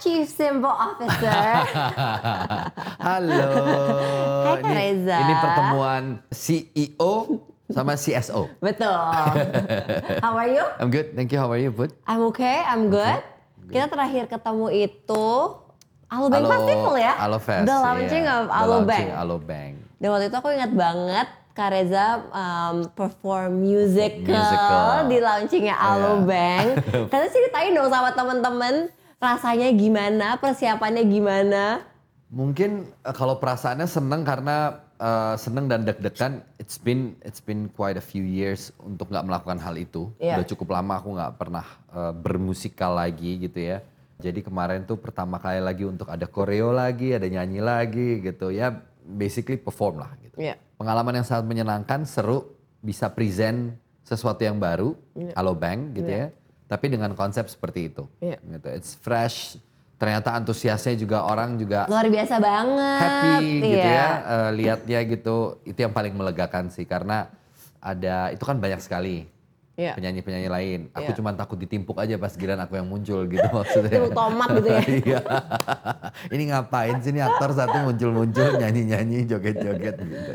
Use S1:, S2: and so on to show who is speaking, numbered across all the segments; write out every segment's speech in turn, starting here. S1: chief symbol officer.
S2: Halo.
S1: Hai, Kak
S2: Ini-
S1: Reza.
S2: Ini pertemuan CEO sama CSO.
S1: Betul. How are you?
S2: I'm good. Thank you. How are you, Bud?
S1: I'm okay, I'm good. Kita terakhir ketemu itu Alobank
S2: Alo-
S1: Festival ya?
S2: Alofest.
S1: The launching
S2: iya.
S1: of
S2: The
S1: Alobank.
S2: launching Alobank.
S1: Dan waktu itu aku ingat banget Kak Reza um, perform musical,
S2: Musical. Iya.
S1: di launchingnya Alobank. Kata ceritain dong sama temen-temen rasanya gimana, persiapannya gimana.
S2: Mungkin eh, kalau perasaannya seneng karena eh, seneng dan deg-degan. It's been it's been quite a few years untuk nggak melakukan hal itu.
S1: Iya.
S2: Udah cukup lama aku nggak pernah eh, bermusikal lagi gitu ya. Jadi kemarin tuh pertama kali lagi untuk ada koreo lagi, ada nyanyi lagi gitu ya. Basically perform lah gitu.
S1: Iya.
S2: Pengalaman yang sangat menyenangkan, seru, bisa present sesuatu yang baru, Halo Bank gitu ya. Tapi dengan konsep seperti itu.
S1: Iya.
S2: Gitu. It's fresh. Ternyata antusiasnya juga orang juga
S1: Luar biasa banget.
S2: happy gitu
S1: Iya.
S2: ya eh, lihatnya gitu itu yang paling melegakan sih karena ada itu kan banyak sekali
S1: Iya.
S2: penyanyi-penyanyi lain aku
S1: Iya.
S2: cuma takut ditimpuk aja pas giliran aku yang muncul gitu maksudnya
S1: Timpuk tomat gitu ya.
S2: Iya. ini ngapain sih ini aktor satu muncul-muncul nyanyi-nyanyi joget-joget gitu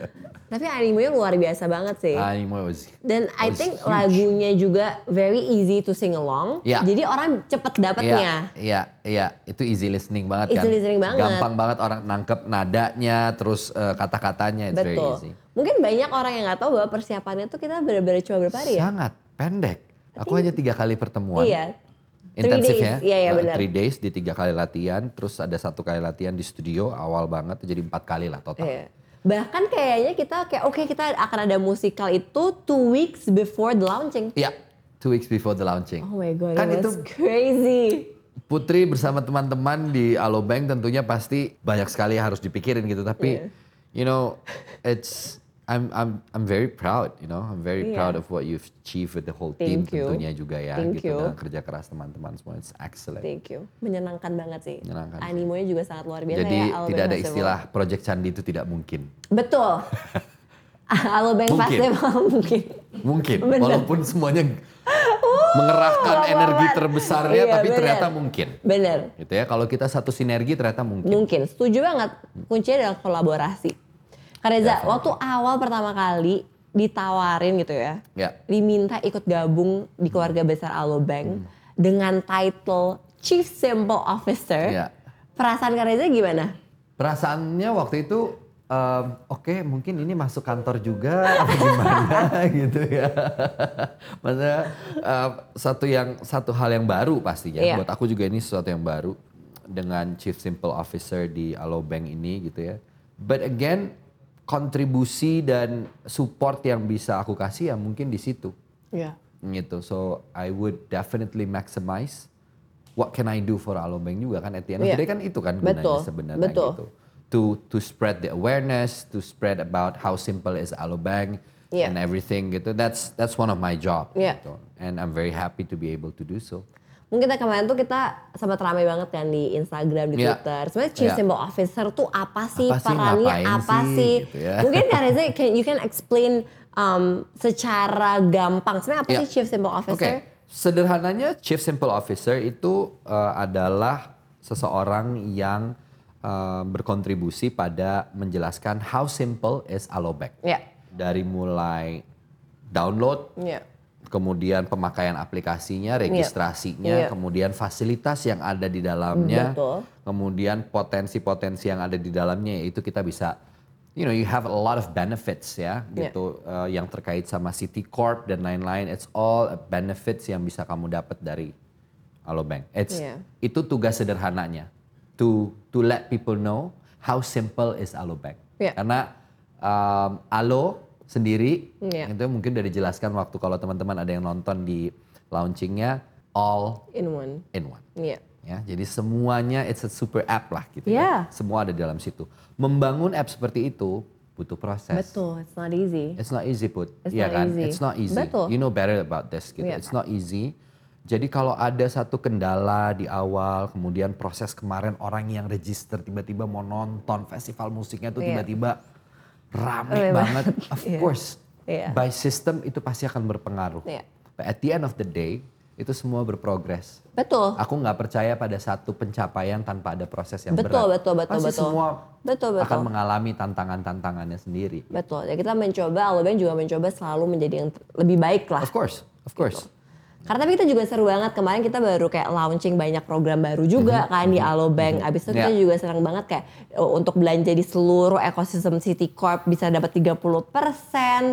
S1: Tapi animenya luar biasa banget sih.
S2: animo was
S1: Dan I
S2: was
S1: think
S2: Ah. huge.
S1: lagunya juga very easy to sing along.
S2: Iya.
S1: Jadi orang cepet
S2: Iya,
S1: dapetnya.
S2: iya, iya, itu easy listening banget
S1: Easy
S2: kan.
S1: listening banget.
S2: Gampang banget orang nangkep nadanya, terus eh, kata-katanya, it's very easy.
S1: Betul. Mungkin banyak orang yang nggak tahu bahwa persiapannya tuh kita benar-benar cuma berapa hari ya?
S2: Sangat pendek. Aku hanya tiga kali pertemuan.
S1: Iya. Three days.
S2: Intensifnya.
S1: Iya, iya
S2: uh,
S1: benar.
S2: Three days di tiga kali latihan, terus ada satu kali latihan di studio awal banget, jadi empat kali lah total.
S1: Iya. Bahkan kayaknya kita kayak oke kita akan ada musikal itu two weeks before the launching.
S2: Iya, two weeks before the launching.
S1: Oh my god,
S2: Kan
S1: that
S2: itu
S1: was crazy.
S2: Putri bersama teman-teman di Alobank tentunya pasti banyak sekali yang harus dipikirin gitu,
S1: Iya.
S2: tapi you know, it's I'm I'm I'm very proud, you know, I'm very
S1: Iya.
S2: proud of what you've achieved with the whole
S1: Thank
S2: team
S1: you.
S2: tentunya juga ya,
S1: Thank
S2: gitu
S1: you.
S2: dengan kerja keras teman-teman semua, it's excellent.
S1: Thank you. Menyenangkan banget sih.
S2: Menyenangkan.
S1: Animonya juga sangat luar biasa
S2: Jadi
S1: ya. Alobank
S2: tidak ada
S1: Festival.
S2: istilah project candi itu tidak mungkin.
S1: Betul. Alobank
S2: Mungkin.
S1: Festival mungkin.
S2: Mungkin,
S1: Bener.
S2: walaupun semuanya Oh, mengerahkan
S1: nggak
S2: energi
S1: apa-apa.
S2: terbesarnya,
S1: Iya,
S2: tapi
S1: bener.
S2: ternyata mungkin.
S1: Bener.
S2: Gitu ya, kalau kita satu sinergi ternyata mungkin.
S1: Mungkin. Setuju banget. Kuncinya adalah kolaborasi. Kak Reza,
S2: Definitely.
S1: waktu awal pertama kali ditawarin gitu ya.
S2: Ya.
S1: Diminta ikut gabung di keluarga besar
S2: Hmm.
S1: Alobank dengan title Chief Simple Officer.
S2: Iya.
S1: Perasaan Kak Reza gimana?
S2: Perasaannya waktu itu, em, oke mungkin ini masuk kantor juga, apa gimana gitu ya. Maksudnya em, satu yang satu hal yang baru pastinya.
S1: Iya.
S2: Buat aku juga ini sesuatu yang baru dengan Chief Simple Officer di Alobank ini gitu ya. But again, kontribusi dan support yang bisa aku kasih ya mungkin di situ.
S1: Iya.
S2: gitu. So I would definitely maximize what can I do for Alobank juga kan at the end of the
S1: Iya.
S2: day kan itu kan gunanya
S1: Betul,
S2: sebenarnya
S1: betul.
S2: gitu. To to spread the awareness, to spread about how simple is Alobank
S1: Iya.
S2: and everything gitu. That's that's one of my job
S1: Iya.
S2: gitu. And I'm very happy to be able to do so.
S1: Mungkin kita kemarin tuh kita sempat ramai banget kan di Instagram, di
S2: Iya.
S1: Twitter. Sebenarnya Chief
S2: Iya.
S1: Symbol Officer tuh apa sih
S2: Apa sih,
S1: perannya,
S2: ngapain
S1: apa
S2: sih,
S1: sih?
S2: gitu ya.
S1: Mungkin Kak Reza, can, you can explain um, secara gampang. Sebenarnya apa
S2: Iya.
S1: sih Chief Symbol
S2: Oke.
S1: Officer?
S2: Sederhananya Chief Simple Officer itu eh, adalah seseorang yang eh, berkontribusi pada menjelaskan how simple is Alobank.
S1: Iya.
S2: Dari mulai download,
S1: Iya.
S2: kemudian pemakaian aplikasinya,
S1: Iya.
S2: registrasinya,
S1: Mm,
S2: kemudian fasilitas yang ada di dalamnya,
S1: Betul.
S2: kemudian potensi-potensi yang ada di dalamnya yaitu kita bisa you know you have a lot of benefits ya
S1: Iya.
S2: gitu eh, yang terkait sama City Corp dan lain-lain it's all benefits yang bisa kamu dapat dari Alobank. It's
S1: Iya.
S2: itu tugas sederhananya to to let people know how simple is Alobank.
S1: Iya.
S2: Karena um, Alo sendiri
S1: Iya.
S2: itu mungkin udah dijelaskan waktu kalau teman-teman ada yang nonton di launchingnya all
S1: In one.
S2: in one.
S1: Iya.
S2: Ya, jadi semuanya it's a super app lah gitu
S1: Yeah.
S2: ya. Semua ada di dalam situ. Membangun app seperti itu butuh proses.
S1: Betul, it's not easy.
S2: It's not easy put.
S1: It's
S2: Iya
S1: not
S2: kan?
S1: easy.
S2: It's not easy.
S1: Betul.
S2: You know better about this gitu.
S1: Iya.
S2: It's not easy. Jadi kalau ada satu kendala di awal, kemudian proses kemarin orang yang register tiba-tiba mau nonton festival musiknya tuh
S1: Iya.
S2: tiba-tiba
S1: Rame
S2: rame banget. Of
S1: Iya.
S2: course,
S1: Iya.
S2: by system itu pasti akan berpengaruh.
S1: Iya.
S2: But at the end of the day, itu semua berprogres.
S1: Betul.
S2: Aku nggak percaya pada satu pencapaian tanpa ada proses yang
S1: Betul,
S2: berat.
S1: betul, betul,
S2: Pasti
S1: betul.
S2: semua
S1: Betul, betul.
S2: akan mengalami tantangan-tantangannya sendiri.
S1: Betul. Ya kita mencoba, Allah Ben juga mencoba selalu menjadi yang t- lebih baik lah.
S2: Of course, of course.
S1: Karena tapi kita juga seru banget kemarin kita baru kayak launching banyak program baru juga kan di Alobank. Abis itu kita
S2: Mhm. Ya.
S1: juga senang banget kayak oh, untuk belanja di seluruh ekosistem City Corp bisa dapat 30%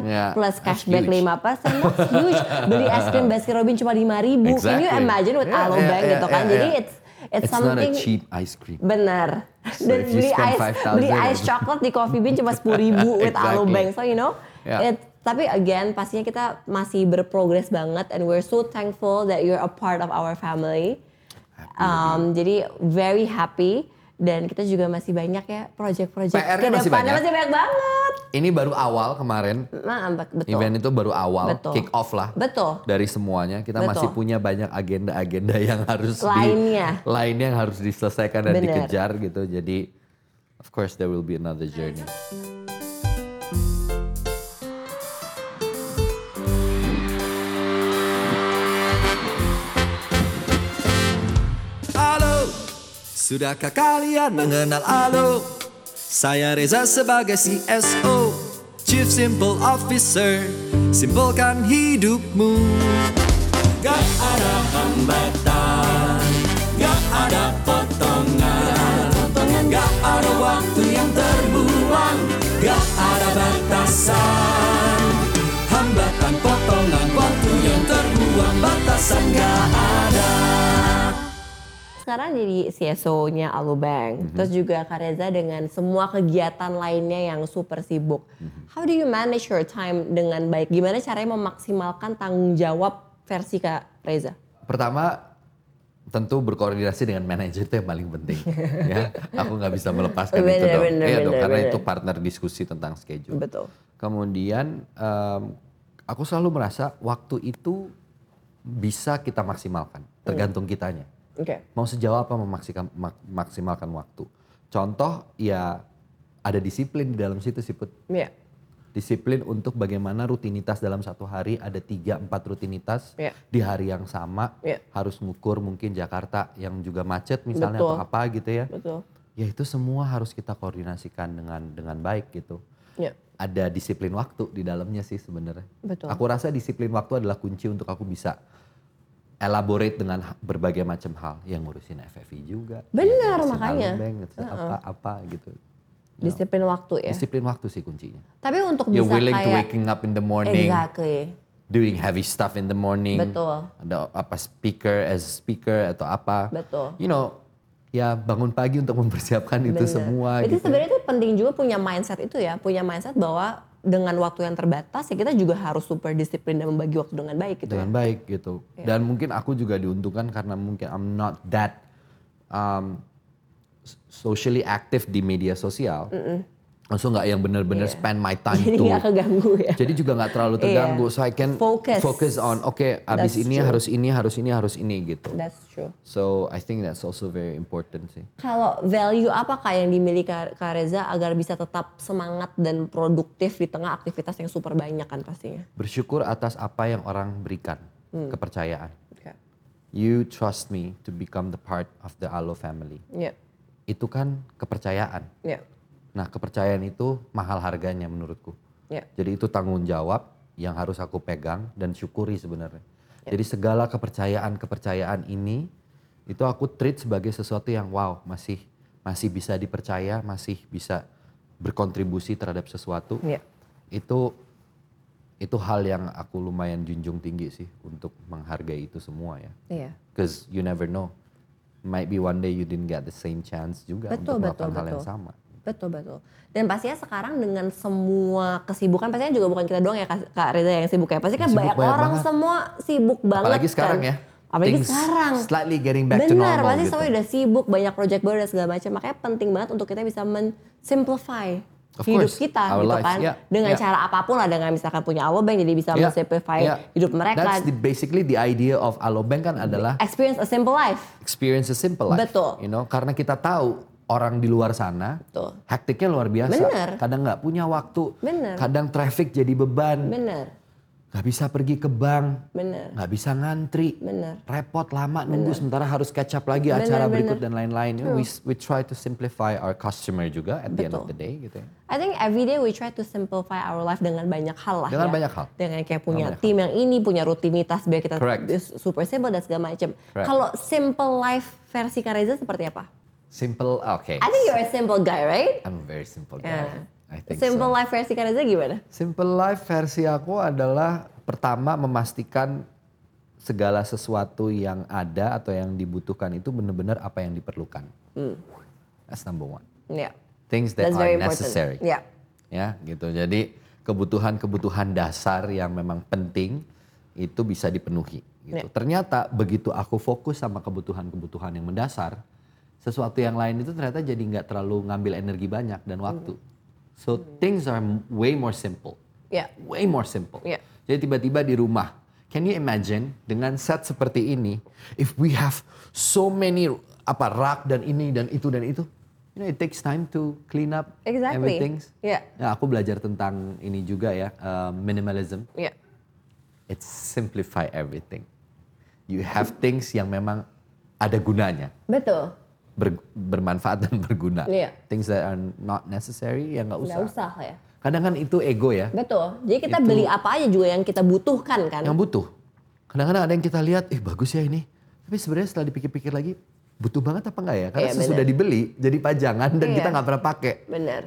S2: Ya,
S1: plus
S2: that's
S1: cashback
S2: huge.
S1: 5%. That's huge. Beli es krim Baskin Robin cuma 5 ribu. Can you
S2: Exactly.
S1: imagine with
S2: Yeah, yeah,
S1: Alobank
S2: yeah,
S1: gitu kan.
S2: yeah,
S1: Jadi
S2: yeah.
S1: it's it's,
S2: It's not a
S1: something
S2: cheap ice cream.
S1: Benar.
S2: So
S1: Dan
S2: if you
S1: beli
S2: spend
S1: ice,
S2: 5,000
S1: beli ice coklat di Coffee Bean cuma 10 ribu with
S2: Exactly.
S1: Alobank. So you know,
S2: Yeah.
S1: it- tapi again pastinya kita masih berprogres banget and we're so thankful that you're a part of our family. Um, jadi very happy dan kita juga masih banyak ya project-project
S2: PR-nya
S1: ke
S2: masih
S1: depannya
S2: banyak.
S1: masih banyak banget.
S2: Ini baru awal kemarin.
S1: Nah, betul.
S2: Event itu baru awal,
S1: Betul.
S2: kick off lah.
S1: Betul.
S2: Dari semuanya kita
S1: Betul.
S2: masih punya banyak agenda-agenda yang harus di-
S1: Lainnya.
S2: lainnya yang harus diselesaikan dan
S1: Bener.
S2: dikejar gitu. Jadi of course there will be another journey.
S3: Halo, sudahkah kalian mengenal Halo? Saya Reza sebagai CSO, Chief Simple Officer. Simpelkan hidupmu. Gak ada hambatan, gak ada potongan, gak ada waktu yang terbuang, gak ada batasan. Hambatan potongan waktu yang terbuang, batasan gak ada.
S1: Sekarang jadi CSO-nya Alubank,
S2: Mhm.
S1: terus juga Kak Reza dengan semua kegiatan lainnya yang super sibuk.
S2: Mhm.
S1: How do you manage your time dengan baik? Gimana caranya memaksimalkan tanggung jawab versi Kak Reza?
S2: Pertama tentu berkoordinasi dengan manajer itu yang paling penting. ya, aku nggak bisa melepaskan itu
S1: Bener,
S2: dong.
S1: bener,
S2: Iya dong,
S1: bener,
S2: karena
S1: bener.
S2: itu partner diskusi tentang schedule.
S1: Betul.
S2: Kemudian em, aku selalu merasa waktu itu bisa kita maksimalkan,
S1: Iya.
S2: tergantung kitanya.
S1: Oke.
S2: Mau sejauh apa memaksimalkan, maksimalkan waktu. Contoh ya ada disiplin di dalam situ sih Put.
S1: Iya.
S2: Disiplin untuk bagaimana rutinitas dalam satu hari ada 3-4 rutinitas
S1: Iya.
S2: di hari yang sama.
S1: Iya.
S2: Harus ngukur mungkin Jakarta yang juga macet misalnya
S1: Betul.
S2: atau apa gitu ya.
S1: Betul.
S2: Ya itu semua harus kita koordinasikan dengan dengan baik gitu
S1: Iya.
S2: ada disiplin waktu di dalamnya sih sebenarnya.
S1: Betul.
S2: Aku rasa disiplin waktu adalah kunci untuk aku bisa elaborate dengan ha- berbagai macam hal yang ngurusin FFI juga.
S1: Benar,
S2: yang ngurusin
S1: makanya.
S2: Alobank, ngurusin apa apa gitu.
S1: Disiplin waktu ya.
S2: Disiplin waktu sih kuncinya.
S1: Tapi untuk
S2: You're
S1: bisa
S2: willing to
S1: kayak
S2: waking up in the morning,
S1: exactly.
S2: doing heavy stuff in the morning.
S1: Betul.
S2: Ada apa speaker as speaker atau apa.
S1: Betul.
S2: You know, ya bangun pagi untuk mempersiapkan itu
S1: Bener.
S2: semua
S1: Itu
S2: gitu.
S1: sebenarnya itu penting juga punya mindset itu ya, punya mindset bahwa dengan waktu yang terbatas ya kita juga harus super disiplin dan membagi waktu dengan baik gitu. ya.
S2: dengan baik gitu. Dan mungkin aku juga diuntungkan karena mungkin I'm not that um, s- socially active di media sosial. Langsung nggak yang bener-bener
S1: Iya.
S2: spend my time
S1: Jadi
S2: to.
S1: nggak keganggu ya.
S2: Jadi juga nggak terlalu terganggu. So I can
S1: Focus.
S2: on oke
S1: That's
S2: abis ini
S1: true.
S2: harus ini harus ini harus ini gitu.
S1: That's true.
S2: So I think that's also very important sih.
S1: Kalau value apakah yang dimiliki Kak Kak Reza agar bisa tetap semangat dan produktif di tengah aktivitas yang super banyak kan pastinya?
S2: Bersyukur atas apa yang orang berikan kepercayaan.
S1: Oke.
S2: You trust me to become the part of the Alo family.
S1: Iya.
S2: Itu kan kepercayaan.
S1: Iya.
S2: Nah, kepercayaan itu mahal harganya menurutku.
S1: Iya.
S2: Jadi itu tanggung jawab yang harus aku pegang dan syukuri sebenarnya. Jadi segala kepercayaan-kepercayaan ini itu aku treat sebagai sesuatu yang wow, masih masih bisa dipercaya, masih bisa berkontribusi terhadap sesuatu.
S1: Iya.
S2: Itu itu hal yang aku lumayan junjung tinggi sih untuk menghargai itu semua ya.
S1: Iya.
S2: Because you never know. Might be one day you didn't get the same chance juga
S1: Betul,
S2: untuk melakukan
S1: betul,
S2: hal yang
S1: betul.
S2: sama.
S1: Betul betul. Dan pastinya sekarang dengan semua kesibukan pastinya juga bukan kita doang ya Kak Kak Reza yang sibuk ya. Pasti kan
S2: Sibuk
S1: banyak,
S2: banyak
S1: orang
S2: banget.
S1: semua sibuk banget.
S2: Apalagi sekarang
S1: kan.
S2: ya.
S1: Apalagi
S2: Things
S1: sekarang.
S2: Slightly getting back to
S1: Benar,
S2: normal
S1: pasti
S2: gitu.
S1: semuanya udah sibuk, banyak project baru dan segala macam. Makanya penting banget untuk kita bisa men-simplify
S2: Of
S1: hidup
S2: course,
S1: kita
S2: our
S1: gitu
S2: life,
S1: kan.
S2: yeah,
S1: Dengan
S2: yeah.
S1: cara apapun lah, dengan misalkan punya Alobank jadi bisa
S2: Yeah,
S1: men-simplify
S2: yeah.
S1: hidup mereka.
S2: That's the, basically the idea of Alobank kan adalah
S1: Experience a simple life.
S2: experience a simple life.
S1: Betul.
S2: You know, karena kita tahu orang di luar sana
S1: Betul.
S2: hektiknya luar biasa.
S1: Bener.
S2: Kadang nggak punya waktu.
S1: Bener.
S2: Kadang traffic jadi beban.
S1: Bener.
S2: nggak bisa pergi ke bank,
S1: Bener.
S2: nggak bisa ngantri,
S1: Bener.
S2: repot lama nunggu sementara harus catch up lagi
S1: Bener,
S2: acara
S1: bener.
S2: berikut dan lain-lain. We we try to simplify our customer juga at the end of
S1: Betul.
S2: the day gitu ya.
S1: I think every day we try to simplify our life dengan banyak hal lah
S2: Dengan
S1: ya.
S2: banyak hal.
S1: Dengan kayak punya
S2: Dengan banyak
S1: tim yang ini, punya rutinitas biar kita
S2: Correct.
S1: super simple dan segala macam. Kalau simple life versi Kareza seperti apa?
S2: Simple,
S1: I
S2: oke.
S1: think you're a simple guy, right?
S2: I'm a very simple guy.
S1: Yeah.
S2: I think
S1: Ya. simple
S2: so.
S1: life versi Kareza gimana?
S2: Simple life versi aku adalah pertama memastikan segala sesuatu yang ada atau yang dibutuhkan itu benar-benar apa yang diperlukan. That's number one.
S1: Ya.
S2: Things that
S1: Hmm. That's
S2: are
S1: very important.
S2: necessary.
S1: Ya.
S2: ya gitu. Jadi kebutuhan-kebutuhan dasar yang memang penting itu bisa dipenuhi. Gitu. Ternyata begitu aku fokus sama kebutuhan-kebutuhan yang mendasar, sesuatu yang lain itu ternyata jadi nggak terlalu ngambil energi banyak dan waktu. So things are way more simple,
S1: Ya.
S2: way more simple.
S1: Yeah.
S2: Jadi tiba-tiba di rumah, can you imagine dengan set seperti ini, if we have so many apa rak dan ini dan itu dan itu, you know it takes time to clean up
S1: Exactly.
S2: everything.
S1: Yeah.
S2: Ya, aku belajar tentang ini juga ya, uh, minimalism.
S1: Ya.
S2: It's simplify everything. You have things yang memang ada gunanya,
S1: Betul.
S2: ber- bermanfaat dan berguna.
S1: Iya.
S2: Things that are not necessary yang nggak usah.
S1: Nggak usah ya.
S2: Kadang kan itu ego ya,
S1: Betul. Jadi kita
S2: Itu-
S1: beli apa aja juga yang kita butuhkan kan.
S2: yang butuh. Kadang-kadang ada yang kita lihat, eh bagus ya ini. Tapi sebenarnya setelah dipikir-pikir lagi, butuh banget apa nggak ya? Karena
S1: Iya,
S2: sesudah
S1: benar.
S2: dibeli, jadi pajangan dan
S1: Iya.
S2: kita nggak pernah pakai.
S1: Bener.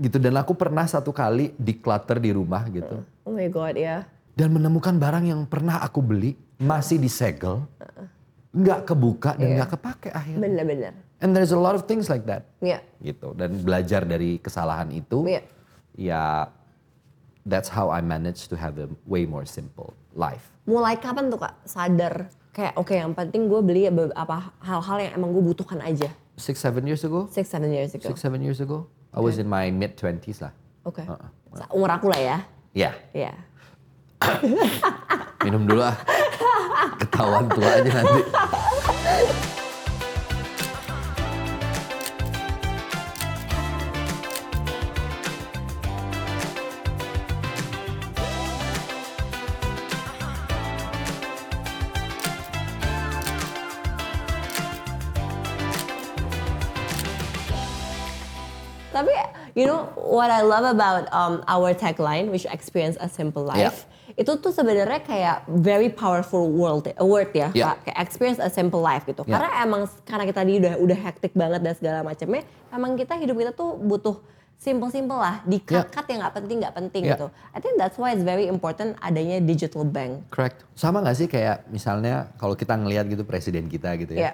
S2: Gitu, dan aku pernah satu kali declutter di rumah gitu.
S1: Oh my god ya.
S2: dan menemukan barang yang pernah aku beli masih disegel, nggak
S1: Iya.
S2: kebuka dan nggak kepake akhirnya.
S1: Bener-bener.
S2: And there's a lot of things like that,
S1: Ya.
S2: gitu. Dan belajar dari kesalahan itu,
S1: Iya.
S2: ya that's how I managed to have a way more simple life.
S1: Mulai kapan tuh kak sadar kayak oke yang penting gue beli be- apa hal-hal yang emang gue butuhkan aja.
S2: Six seven years ago,
S1: Six seven years ago.
S2: six seven years ago, I was in my mid twenties lah.
S1: Oke.
S2: Uh-uh.
S1: Sa- Umur aku lah ya.
S2: Ya,
S1: Ya.
S2: minum dulu ah. Ketahuan tua aja nanti.
S1: Tapi you know what I love about um, our tagline which experience a simple life. Itu tuh sebenarnya kayak very powerful word, word ya,
S2: Iya.
S1: Kak. kayak experience a simple life gitu.
S2: Iya.
S1: Karena emang karena kita tadi udah udah hektik banget dan segala macamnya, emang kita hidup kita tuh butuh simple-simple lah, dikat-kat yang nggak penting nggak penting
S2: Iya.
S1: gitu. I think that's why it's very important adanya digital bank.
S2: Correct. Sama nggak sih kayak misalnya kalau kita ngelihat gitu presiden kita gitu ya.
S1: Ya,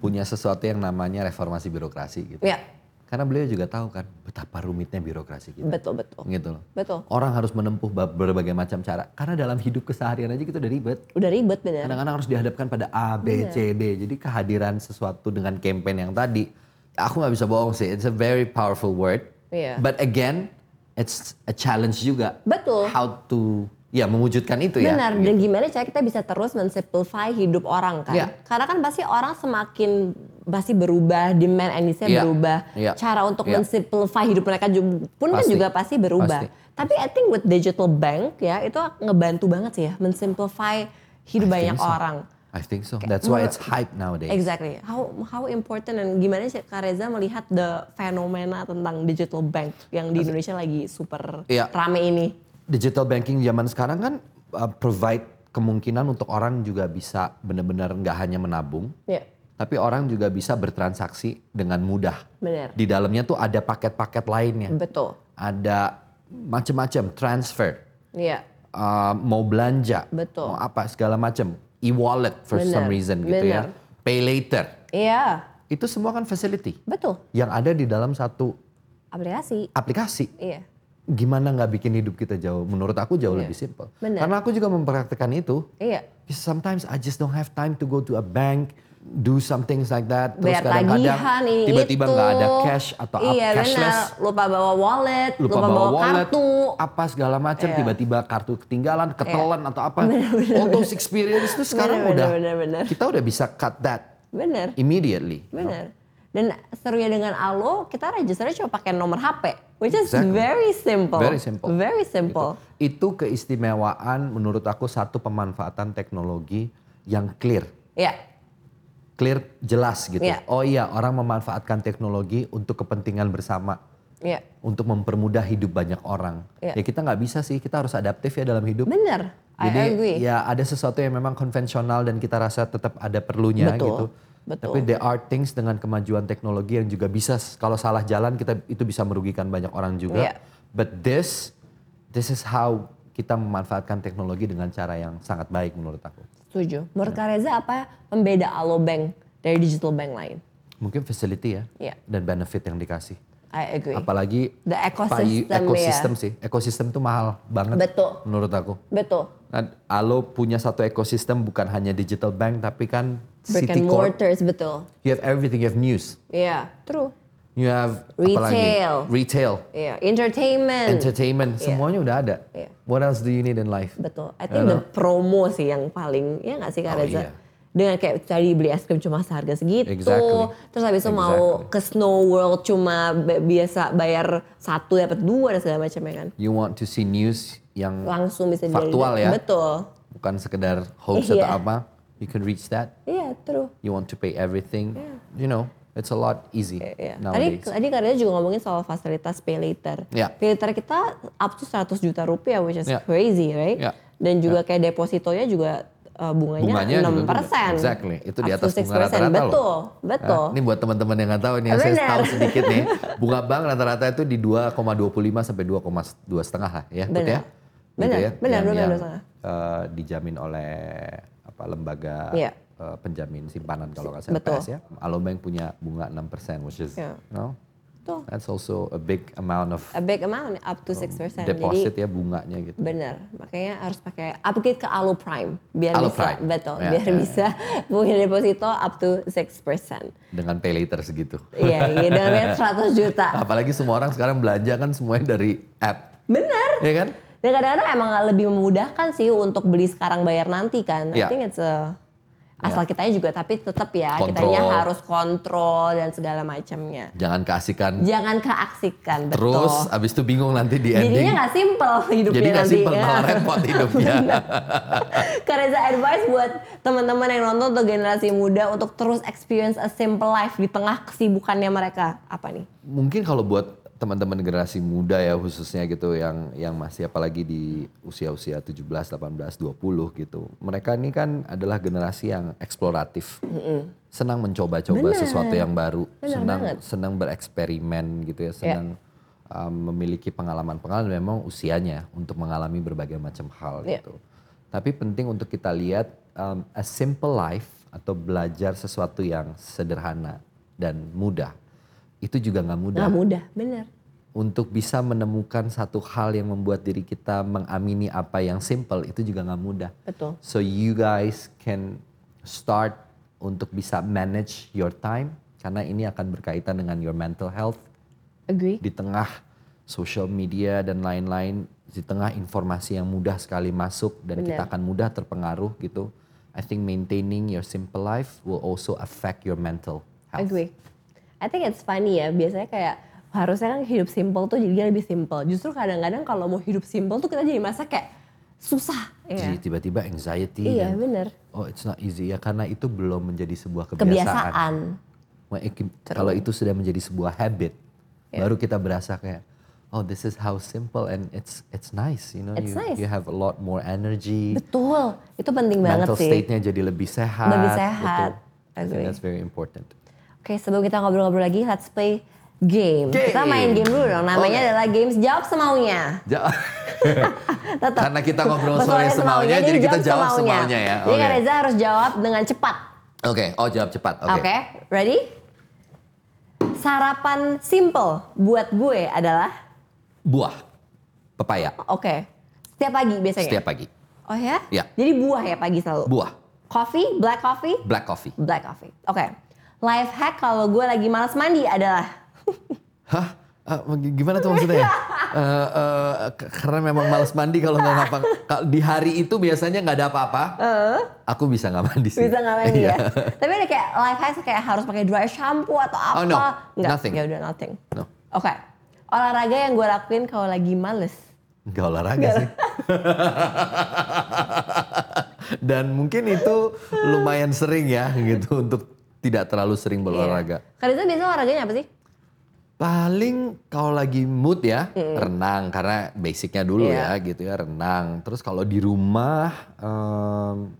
S2: punya sesuatu yang namanya reformasi birokrasi gitu.
S1: Iya.
S2: Karena beliau juga tahu kan betapa rumitnya birokrasi kita.
S1: betul betul.
S2: Gitu loh.
S1: Betul.
S2: Orang harus menempuh ba- berbagai macam cara. Karena dalam hidup keseharian aja kita udah ribet.
S1: Udah ribet bener.
S2: Kadang-kadang harus dihadapkan pada A, B, C, D. Jadi kehadiran sesuatu dengan campaign yang tadi, aku nggak bisa bohong sih. It's a very powerful word.
S1: Iya.
S2: But again, it's a challenge juga.
S1: Betul.
S2: How to, ya mewujudkan itu ya.
S1: Benar,
S2: gitu.
S1: dan gimana cara kita bisa terus mensimplify hidup orang kan?
S2: Iya.
S1: Karena kan pasti orang semakin pasti berubah, demand and needs-nya
S2: Iya,
S1: berubah.
S2: iya,
S1: Cara untuk
S2: iya.
S1: mensimplify hidup mereka ju- pun kan
S2: Pasti,
S1: juga pasti berubah.
S2: pasti.
S1: Tapi I think with digital bank ya itu ngebantu banget sih ya mensimplify hidup
S2: I think
S1: banyak
S2: so.
S1: orang.
S2: I think so. That's why
S1: menurut-
S2: it's hype nowadays.
S1: Exactly. How how important dan gimana sih Kak Reza melihat the fenomena tentang digital bank yang di Indonesia lagi super
S2: Iya.
S1: rame ini?
S2: digital banking zaman sekarang kan uh, provide kemungkinan untuk orang juga bisa benar-benar nggak hanya menabung,
S1: Ya,
S2: tapi orang juga bisa bertransaksi dengan mudah.
S1: Benar.
S2: Di dalamnya tuh ada paket-paket lainnya,
S1: betul.
S2: ada macam-macam transfer,
S1: Iya.
S2: uh, mau belanja,
S1: Betul.
S2: mau apa segala macam, e-wallet for
S1: Benar,
S2: some reason gitu
S1: benar.
S2: ya, pay later,
S1: Iya,
S2: itu semua kan facility
S1: betul.
S2: yang ada di dalam satu
S1: Aplikasi.
S2: aplikasi.
S1: Iya.
S2: Gimana nggak bikin hidup kita jauh? Menurut aku jauh lebih simpel.
S1: Benar.
S2: Karena aku juga mempraktekkan itu.
S1: Iya.
S2: Because sometimes I just don't have time to go to a bank, do some things like that.
S1: Bayar
S2: Terus
S1: tagihan
S2: kadang-kadang
S1: ini
S2: tiba-tiba
S1: itu.
S2: nggak ada cash atau up-
S1: iya,
S2: cashless.
S1: Benar. Lupa bawa wallet, lupa, bawa,
S2: wallet,
S1: kartu.
S2: apa segala macam,
S1: Iya.
S2: tiba-tiba kartu ketinggalan, ketelan atau apa. All those experience itu sekarang
S1: Benar,
S2: udah
S1: benar, benar, benar.
S2: kita udah bisa cut that
S1: Bener.
S2: immediately.
S1: Bener. Dan serunya dengan Alo, kita registernya cuma pakai nomor HP, which is
S2: Exactly.
S1: very simple.
S2: Very simple.
S1: Very
S2: Gitu.
S1: simple.
S2: Itu keistimewaan menurut aku satu pemanfaatan teknologi yang clear.
S1: Ya,
S2: Clear jelas gitu.
S1: Iya.
S2: Oh iya, orang memanfaatkan teknologi untuk kepentingan bersama,
S1: ya,
S2: untuk mempermudah hidup banyak orang.
S1: Iya.
S2: Ya kita nggak bisa sih, kita harus adaptif ya dalam hidup.
S1: bener. I
S2: Jadi
S1: agree.
S2: ya ada sesuatu yang memang konvensional dan kita rasa tetap ada perlunya
S1: Betul,
S2: gitu.
S1: betul.
S2: Tapi there are things dengan kemajuan teknologi yang juga bisa s- kalau salah jalan kita itu bisa merugikan banyak orang juga.
S1: Iya.
S2: But this this is how kita memanfaatkan teknologi dengan cara yang sangat baik menurut aku.
S1: Setuju. Menurut
S2: Iya.
S1: Kak Reza apa pembeda Alo Bank dari digital bank lain?
S2: Mungkin facility ya
S1: Iya.
S2: dan benefit yang dikasih.
S1: I agree.
S2: Apalagi
S1: The
S2: payu-
S1: ecosystem,
S2: ekosistem
S1: ya.
S2: sih. Ekosistem tuh mahal banget
S1: Betul.
S2: menurut aku.
S1: Betul.
S2: Nah, Alo punya satu ekosistem bukan hanya digital bank tapi kan
S1: Brick and
S2: Citicorp
S1: mortars, betul.
S2: You have everything. You have news.
S1: Iya, true.
S2: You have
S1: Retail.
S2: Apalagi? Retail,
S1: Iya, entertainment.
S2: entertainment.
S1: Yeah.
S2: Semuanya udah ada.
S1: Yeah.
S2: What else do you need in life?
S1: Betul. I think the promo sih yang paling ya nggak sih Kak
S2: Oh,
S1: Reza?
S2: iya.
S1: Dengan kayak tadi beli es krim cuma seharga segitu,
S2: Exactly.
S1: terus habis itu mau
S2: Exactly.
S1: ke Snow World cuma bi- biasa bayar satu dapat dua dan segala macam ya kan.
S2: You want to see news yang
S1: Langsung bisa jadi-
S2: faktual ya,
S1: Betul.
S2: bukan sekedar hoax
S1: Iya.
S2: atau apa. You can reach that.
S1: Iya, true.
S2: You want to pay everything. You know, it's a lot easy
S1: Iya. Tadi
S2: nowadays.
S1: tadi Kak Reza juga ngomongin soal fasilitas pay later.
S2: Iya.
S1: Pay later kita up to 100 juta rupiah which is
S2: Iya.
S1: crazy, right?
S2: Iya.
S1: Dan juga kayak depositonya juga eh, bunganya,
S2: Bunganya juga
S1: 6%.
S2: juga. Exactly. Itu di
S1: Up
S2: atas
S1: to 6%.
S2: bunga rata-rata loh.
S1: Betul, betul.
S2: Nah, ini buat teman-teman yang nggak tahu nih, saya
S1: Benar.
S2: tahu sedikit nih. Bunga bank rata-rata itu di 2,25 sampai 2,2 setengah lah ya,
S1: Benar.
S2: Put, ya.
S1: Benar, benar,
S2: yang,
S1: benar,
S2: yang,
S1: benar.
S2: eh, dijamin oleh apa lembaga
S1: Iya.
S2: eh, penjamin simpanan kalau nggak salah
S1: Betul.
S2: LPS ya. Alobank punya bunga 6% which is
S1: Iya.
S2: you know,
S1: Betul.
S2: that's also a big amount of
S1: a big amount up to 6%.
S2: deposit
S1: Jadi
S2: ya bunganya gitu.
S1: bener, makanya harus pakai upgrade ke Alo Prime biar
S2: Alo
S1: bisa
S2: Prime.
S1: betul,
S2: Ya,
S1: biar
S2: ya,
S1: bisa punya deposito up to 6%.
S2: Dengan pay later segitu.
S1: Iya, iya dengan rate 100 juta.
S2: Apalagi semua orang sekarang belanja kan semuanya dari app.
S1: Bener.
S2: Ya kan?
S1: Dan kadang-kadang emang lebih memudahkan sih untuk beli sekarang bayar nanti kan. I
S2: Iya.
S1: think it's a- asal kitanya juga tapi tetap ya
S2: Kontrol.
S1: kitanya harus kontrol dan segala macamnya.
S2: Jangan keasikan
S1: Jangan keaksikan Iya, betul.
S2: Terus abis itu bingung nanti di ending.
S1: Jadinya nggak simpel hidupnya
S2: Jadi nggak
S1: nanti.
S2: simpel,
S1: ya.
S2: malah repot hidupnya.
S1: Karena advice buat teman-teman yang nonton atau generasi muda untuk terus experience a simple life di tengah kesibukannya mereka apa nih?
S2: Mungkin kalau buat teman-teman generasi muda ya khususnya gitu yang yang masih apalagi di usia-usia 17, 18, 20 gitu. Mereka ini kan adalah generasi yang eksploratif. Senang mencoba-coba sesuatu yang baru, senang senang bereksperimen gitu ya, senang um, memiliki pengalaman-pengalaman memang usianya untuk mengalami berbagai macam hal
S1: Iya.
S2: gitu. Tapi penting untuk kita lihat um, a simple life atau belajar sesuatu yang sederhana dan mudah. Itu juga nggak mudah.
S1: Nggak mudah, bener.
S2: Untuk bisa menemukan satu hal yang membuat diri kita mengamini apa yang simple itu juga nggak mudah.
S1: Betul.
S2: So you guys can start untuk bisa manage your time karena ini akan berkaitan dengan your mental health
S1: Agree?
S2: di tengah social media dan lain-lain, di tengah informasi yang mudah sekali masuk dan
S1: Benar.
S2: kita akan mudah terpengaruh gitu. I think maintaining your simple life will also affect your mental health.
S1: Agree. I think it's funny ya. Biasanya kayak harusnya kan hidup simple tuh jadinya lebih simple. Justru kadang-kadang kalau mau hidup simple tuh kita jadi masa kayak susah. Ya.
S2: Jadi tiba-tiba anxiety
S1: Iya,
S2: dan,
S1: bener.
S2: oh it's not easy ya karena itu belum menjadi sebuah kebiasaan.
S1: Kebiasaan.
S2: When it can- Kalau itu sudah menjadi sebuah habit,
S1: Ya.
S2: baru kita berasa kayak oh this is how simple and it's it's nice, you know,
S1: It's
S2: you,
S1: nice.
S2: you have a lot more energy.
S1: Betul. Itu penting banget
S2: mental
S1: sih.
S2: state-nya jadi lebih sehat.
S1: Lebih sehat.
S2: betul. I think
S1: Agree.
S2: that's very important.
S1: Oke, sebelum kita ngobrol-ngobrol lagi, let's play game.
S2: Game.
S1: Kita main game dulu dong. Namanya
S2: Oke.
S1: adalah games jawab semaunya.
S2: Ja-
S1: Tetap. ya,
S2: Karena kita ngobrol sore semaunya, jadi kita jawab semaunya ya.
S1: Jadi
S2: Oke.
S1: Kak Iya, Reza harus jawab dengan cepat.
S2: Oke, oh jawab cepat. Oke.
S1: Oke, ready? Sarapan simple buat gue adalah
S2: Buah, pepaya,
S1: oke. Setiap pagi biasanya.
S2: setiap pagi.
S1: Oh ya?
S2: Iya.
S1: Jadi buah ya pagi selalu.
S2: Buah,
S1: Coffee, black coffee,
S2: black coffee.
S1: black coffee. Oke. Life hack kalau gue lagi malas mandi adalah
S2: Hah? Ah, gimana tuh maksudnya? eh, eh, k- karena memang males mandi kalau nggak ngapa ka- di hari itu biasanya nggak ada apa-apa aku bisa nggak mandi sih
S1: eh, Bisa nggak mandi
S2: Iya.
S1: ya? Tapi ada kayak life hacks kayak harus pakai dry shampoo atau apa?
S2: Oh, no.
S1: Nggak,
S2: Nothing.
S1: Ya udah nothing.
S2: No.
S1: Oke. Olahraga yang gue lakuin kalau lagi males.
S2: nggak olahraga sih dan mungkin itu lumayan sering ya gitu untuk tidak terlalu
S1: Iya.
S2: sering berolahraga
S1: Karena itu biasanya olahraganya apa sih?
S2: Paling kalau lagi mood ya, renang karena basicnya dulu
S1: Iya.
S2: ya gitu ya renang. Terus kalau di rumah em,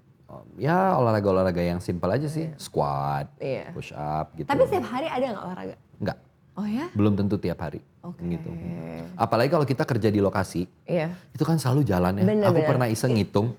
S2: ya olahraga-olahraga yang simpel aja sih, squat,
S1: Iya.
S2: push up gitu.
S1: Tapi setiap hari ada nggak olahraga?
S2: enggak,
S1: Oh ya?
S2: belum tentu tiap hari
S1: Oke.
S2: gitu. Apalagi kalau kita kerja di lokasi,
S1: Iya.
S2: itu kan selalu jalan ya.
S1: Bener,
S2: Aku
S1: bener.
S2: pernah iseng ngitung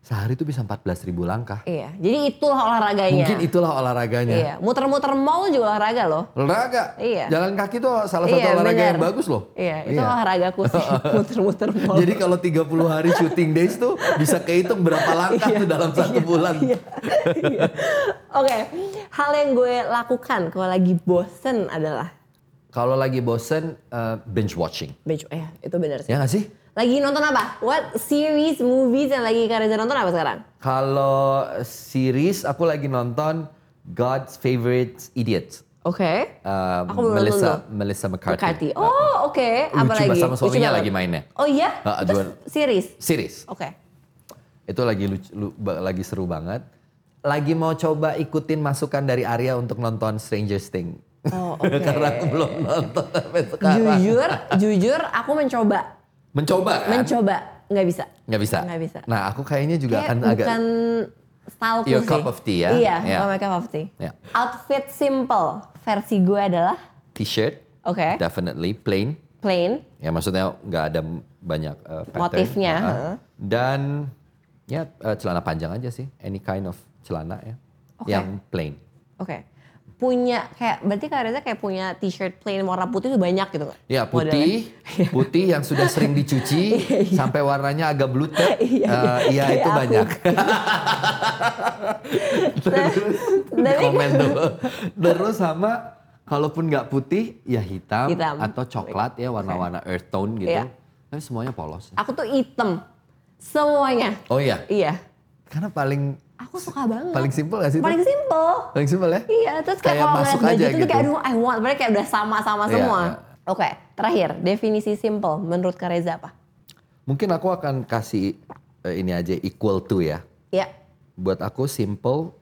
S2: sehari itu bisa 14.000 ribu langkah.
S1: Iya. Jadi itulah olahraganya.
S2: Mungkin itulah olahraganya.
S1: Iya. Muter-muter mall juga olahraga loh.
S2: Olahraga,
S1: Iya.
S2: jalan kaki itu salah satu
S1: Iya,
S2: olahraga
S1: bener.
S2: yang bagus loh.
S1: Iya. Itu olahragaku sih. Muter-muter mall.
S2: Jadi kalau 30 hari shooting days tuh bisa kehitung berapa langkah tuh dalam satu bulan.
S1: Iya. Oke, hal yang gue lakukan kalau lagi bosen adalah
S2: Kalau lagi bosen eh, binge watching.
S1: binge. Eh, itu benar sih.
S2: Ya nggak sih?
S1: Lagi nonton apa? What series, movies yang lagi Kareza nonton apa sekarang?
S2: Kalau series aku lagi nonton God's Favorite Idiot.
S1: Oke.
S2: Eh,
S1: Aku belum
S2: Melissa
S1: nonton
S2: Melissa McCarthy.
S1: Bukati. Oh, oke. Apa
S2: Lucu
S1: lagi?
S2: banget sama
S1: Lucu
S2: suaminya
S1: banget.
S2: lagi mainnya.
S1: Oh iya?
S2: Ah,
S1: Terus
S2: aduan.
S1: series.
S2: Series.
S1: Oke.
S2: Itu lagi lucu- lu- ba- lagi seru banget. Lagi mau coba ikutin masukan dari Arya untuk nonton Stranger Things.
S1: Oh, oke.
S2: Karena aku belum nonton sampai sekarang.
S1: jujur, jujur aku mencoba.
S2: Mencoba kan?
S1: Mencoba nggak bisa.
S2: Nggak bisa.
S1: Nggak bisa.
S2: Nah, aku kayaknya juga
S1: Kayak
S2: akan agak
S1: bukan style
S2: Your cup of tea ya?
S1: Iya,
S2: Iya.
S1: bukan my cup of tea.
S2: Iya.
S1: Outfit simple versi gue adalah
S2: t-shirt,
S1: oke,
S2: definitely plain.
S1: plain.
S2: Ya maksudnya nggak ada m- banyak uh, pattern.
S1: Motifnya,
S2: Ah,
S1: heeh.
S2: Dan ya uh, celana panjang aja sih, any kind of celana ya,
S1: Oke.
S2: yang plain.
S1: Oke. Punya kayak berarti Kak Reza kayak punya t-shirt plain warna putih itu banyak gitu nggak?
S2: Ya
S1: Modelnya.
S2: putih, putih yang sudah sering dicuci sampai warnanya agak blutet.
S1: Iya, iya.
S2: Eh, iya itu
S1: Kayak aku.
S2: banyak.
S1: tapi-
S2: Komen dulu. Terus sama kalaupun nggak putih ya hitam,
S1: Hitam.
S2: atau coklat ya warna-warna earth tone
S1: Iya.
S2: gitu. Tapi semuanya polos.
S1: Aku tuh hitam semuanya.
S2: Oh iya,
S1: Iya.
S2: karena paling
S1: Aku suka banget.
S2: paling simpel nggak sih? itu?
S1: Paling simple.
S2: Paling simpel ya?
S1: Iya, terus kayak,
S2: Kayak
S1: kalau
S2: masuk
S1: ngeliat baju
S2: aja
S1: itu
S2: gitu.
S1: kayak aduh I want, mereka kayak udah sama-sama
S2: Iya,
S1: semua.
S2: iya.
S1: Oke, terakhir definisi simple menurut Kak Reza apa?
S2: Mungkin aku akan kasih eh, ini aja equal to ya.
S1: Ya,
S2: buat aku simple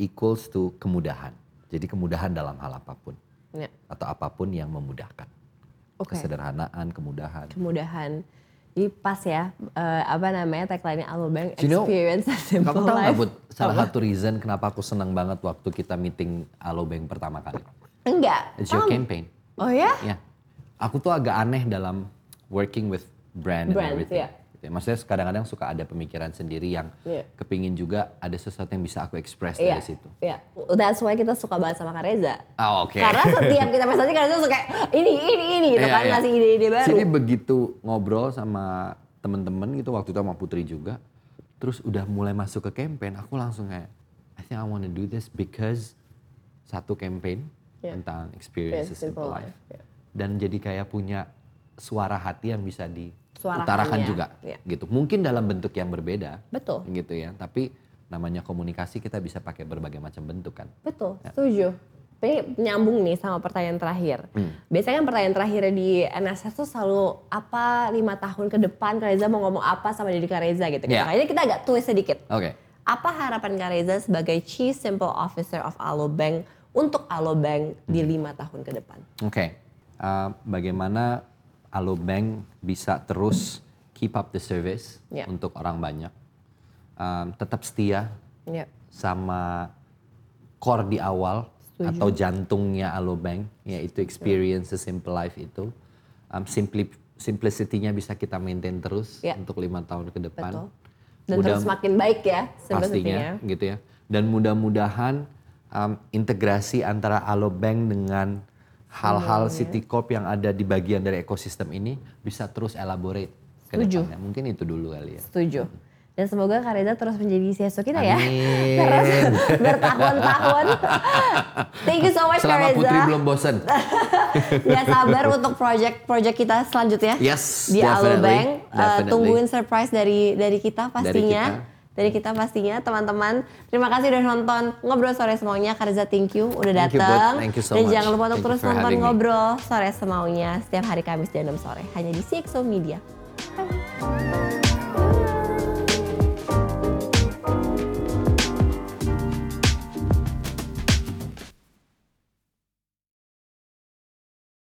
S2: equals to kemudahan. Jadi kemudahan dalam hal apapun
S1: ya.
S2: atau apapun yang memudahkan.
S1: oke.
S2: Kesederhanaan, kemudahan.
S1: Kemudahan. Jadi pas ya, eh, apa namanya tagline-nya Alobank
S2: Do you know,
S1: Experience a Simple
S2: Kamu tahu nggak
S1: Life.
S2: Bud, salah satu reason kenapa aku senang banget waktu kita meeting Alobank pertama kali.
S1: Enggak.
S2: It's your
S1: paham.
S2: campaign.
S1: Oh ya?
S2: Ya. Aku tuh agak aneh dalam working with brand and
S1: Brands,
S2: everything.
S1: iya.
S2: Gitu ya. Maksudnya kadang-kadang suka ada pemikiran sendiri yang
S1: Iya.
S2: kepingin juga ada sesuatu yang bisa aku express
S1: Iya.
S2: dari situ.
S1: Iya. That's why kita suka banget sama Kak Reza.
S2: Oh, oke.
S1: Karena setiap kita presentasi Kak Reza suka kayak, ini, ini, ini gitu
S2: Iya,
S1: kan.
S2: iya.
S1: Ngasih ide-ide baru.
S2: Jadi begitu ngobrol sama temen-temen gitu waktu itu sama Putri juga, terus udah mulai masuk ke campaign, aku langsung kayak, I think I wanna do this because satu campaign
S1: Yeah.
S2: tentang
S1: Yeah,
S2: experience a
S1: Ya. simple
S2: simple
S1: ya.
S2: life.
S1: life, yeah.
S2: Dan jadi kayak punya suara hati yang bisa diutarakan
S1: Suarakannya,
S2: juga
S1: yeah.
S2: gitu. Mungkin dalam bentuk yang berbeda.
S1: Betul.
S2: Gitu ya, tapi namanya komunikasi kita bisa pakai berbagai macam bentuk kan.
S1: Betul, setuju. Tapi nyambung nih sama pertanyaan terakhir.
S2: Hmm.
S1: Biasanya kan pertanyaan terakhir di NSS tuh selalu apa lima tahun ke depan Kak Reza mau ngomong apa sama diri Kak Reza gitu.
S2: Iya.
S1: Kayaknya kita agak twist sedikit.
S2: Oke.
S1: Apa harapan Kak Reza sebagai Chief Simple Officer of Alobank untuk Alobank di lima tahun ke depan?
S2: Oke, uh, bagaimana Alobank bisa terus keep up the service
S1: Ya.
S2: untuk orang banyak, Um, tetap setia
S1: Ya,
S2: sama core di awal
S1: Setuju.
S2: atau jantungnya Alobank, yaitu experience a simple life itu, um, simpli simplicity-nya bisa kita maintain terus
S1: Ya.
S2: untuk lima tahun ke depan.
S1: betul. Dan
S2: Mudah-
S1: terus makin baik ya,
S2: pastinya
S1: simplicity-nya.
S2: gitu ya dan mudah-mudahan um, integrasi antara Alobank dengan hal-hal
S1: Iya.
S2: Citicorp yang ada di bagian dari ekosistem ini bisa terus elaborate ke
S1: Setuju.
S2: depannya. Mungkin itu dulu kali ya.
S1: Setuju. Dan semoga Kak Reza terus menjadi CSO kita ya.
S2: Amin.
S1: Terus bertahun-tahun. Thank you so much Kak
S2: Selama
S1: Reza.
S2: Putri belum bosen.
S1: Gak sabar untuk project-project kita selanjutnya.
S2: Yes,
S1: Di Alobank.
S2: definitely,
S1: Eh,
S2: definitely.
S1: tungguin surprise dari dari kita pastinya.
S2: kita.
S1: Dari kita pastinya teman-teman. Terima kasih udah nonton Ngobrol Sore Semaunya. Karza thank you udah
S2: Thank you, Bud.
S1: datang.
S2: Thank you so
S1: dan
S2: much.
S1: jangan lupa untuk
S2: Thank you
S1: terus
S2: for
S1: nonton
S2: having me.
S1: Ngobrol Sore Semaunya setiap hari Kamis jam 6 sore hanya di CXO Media. Bye.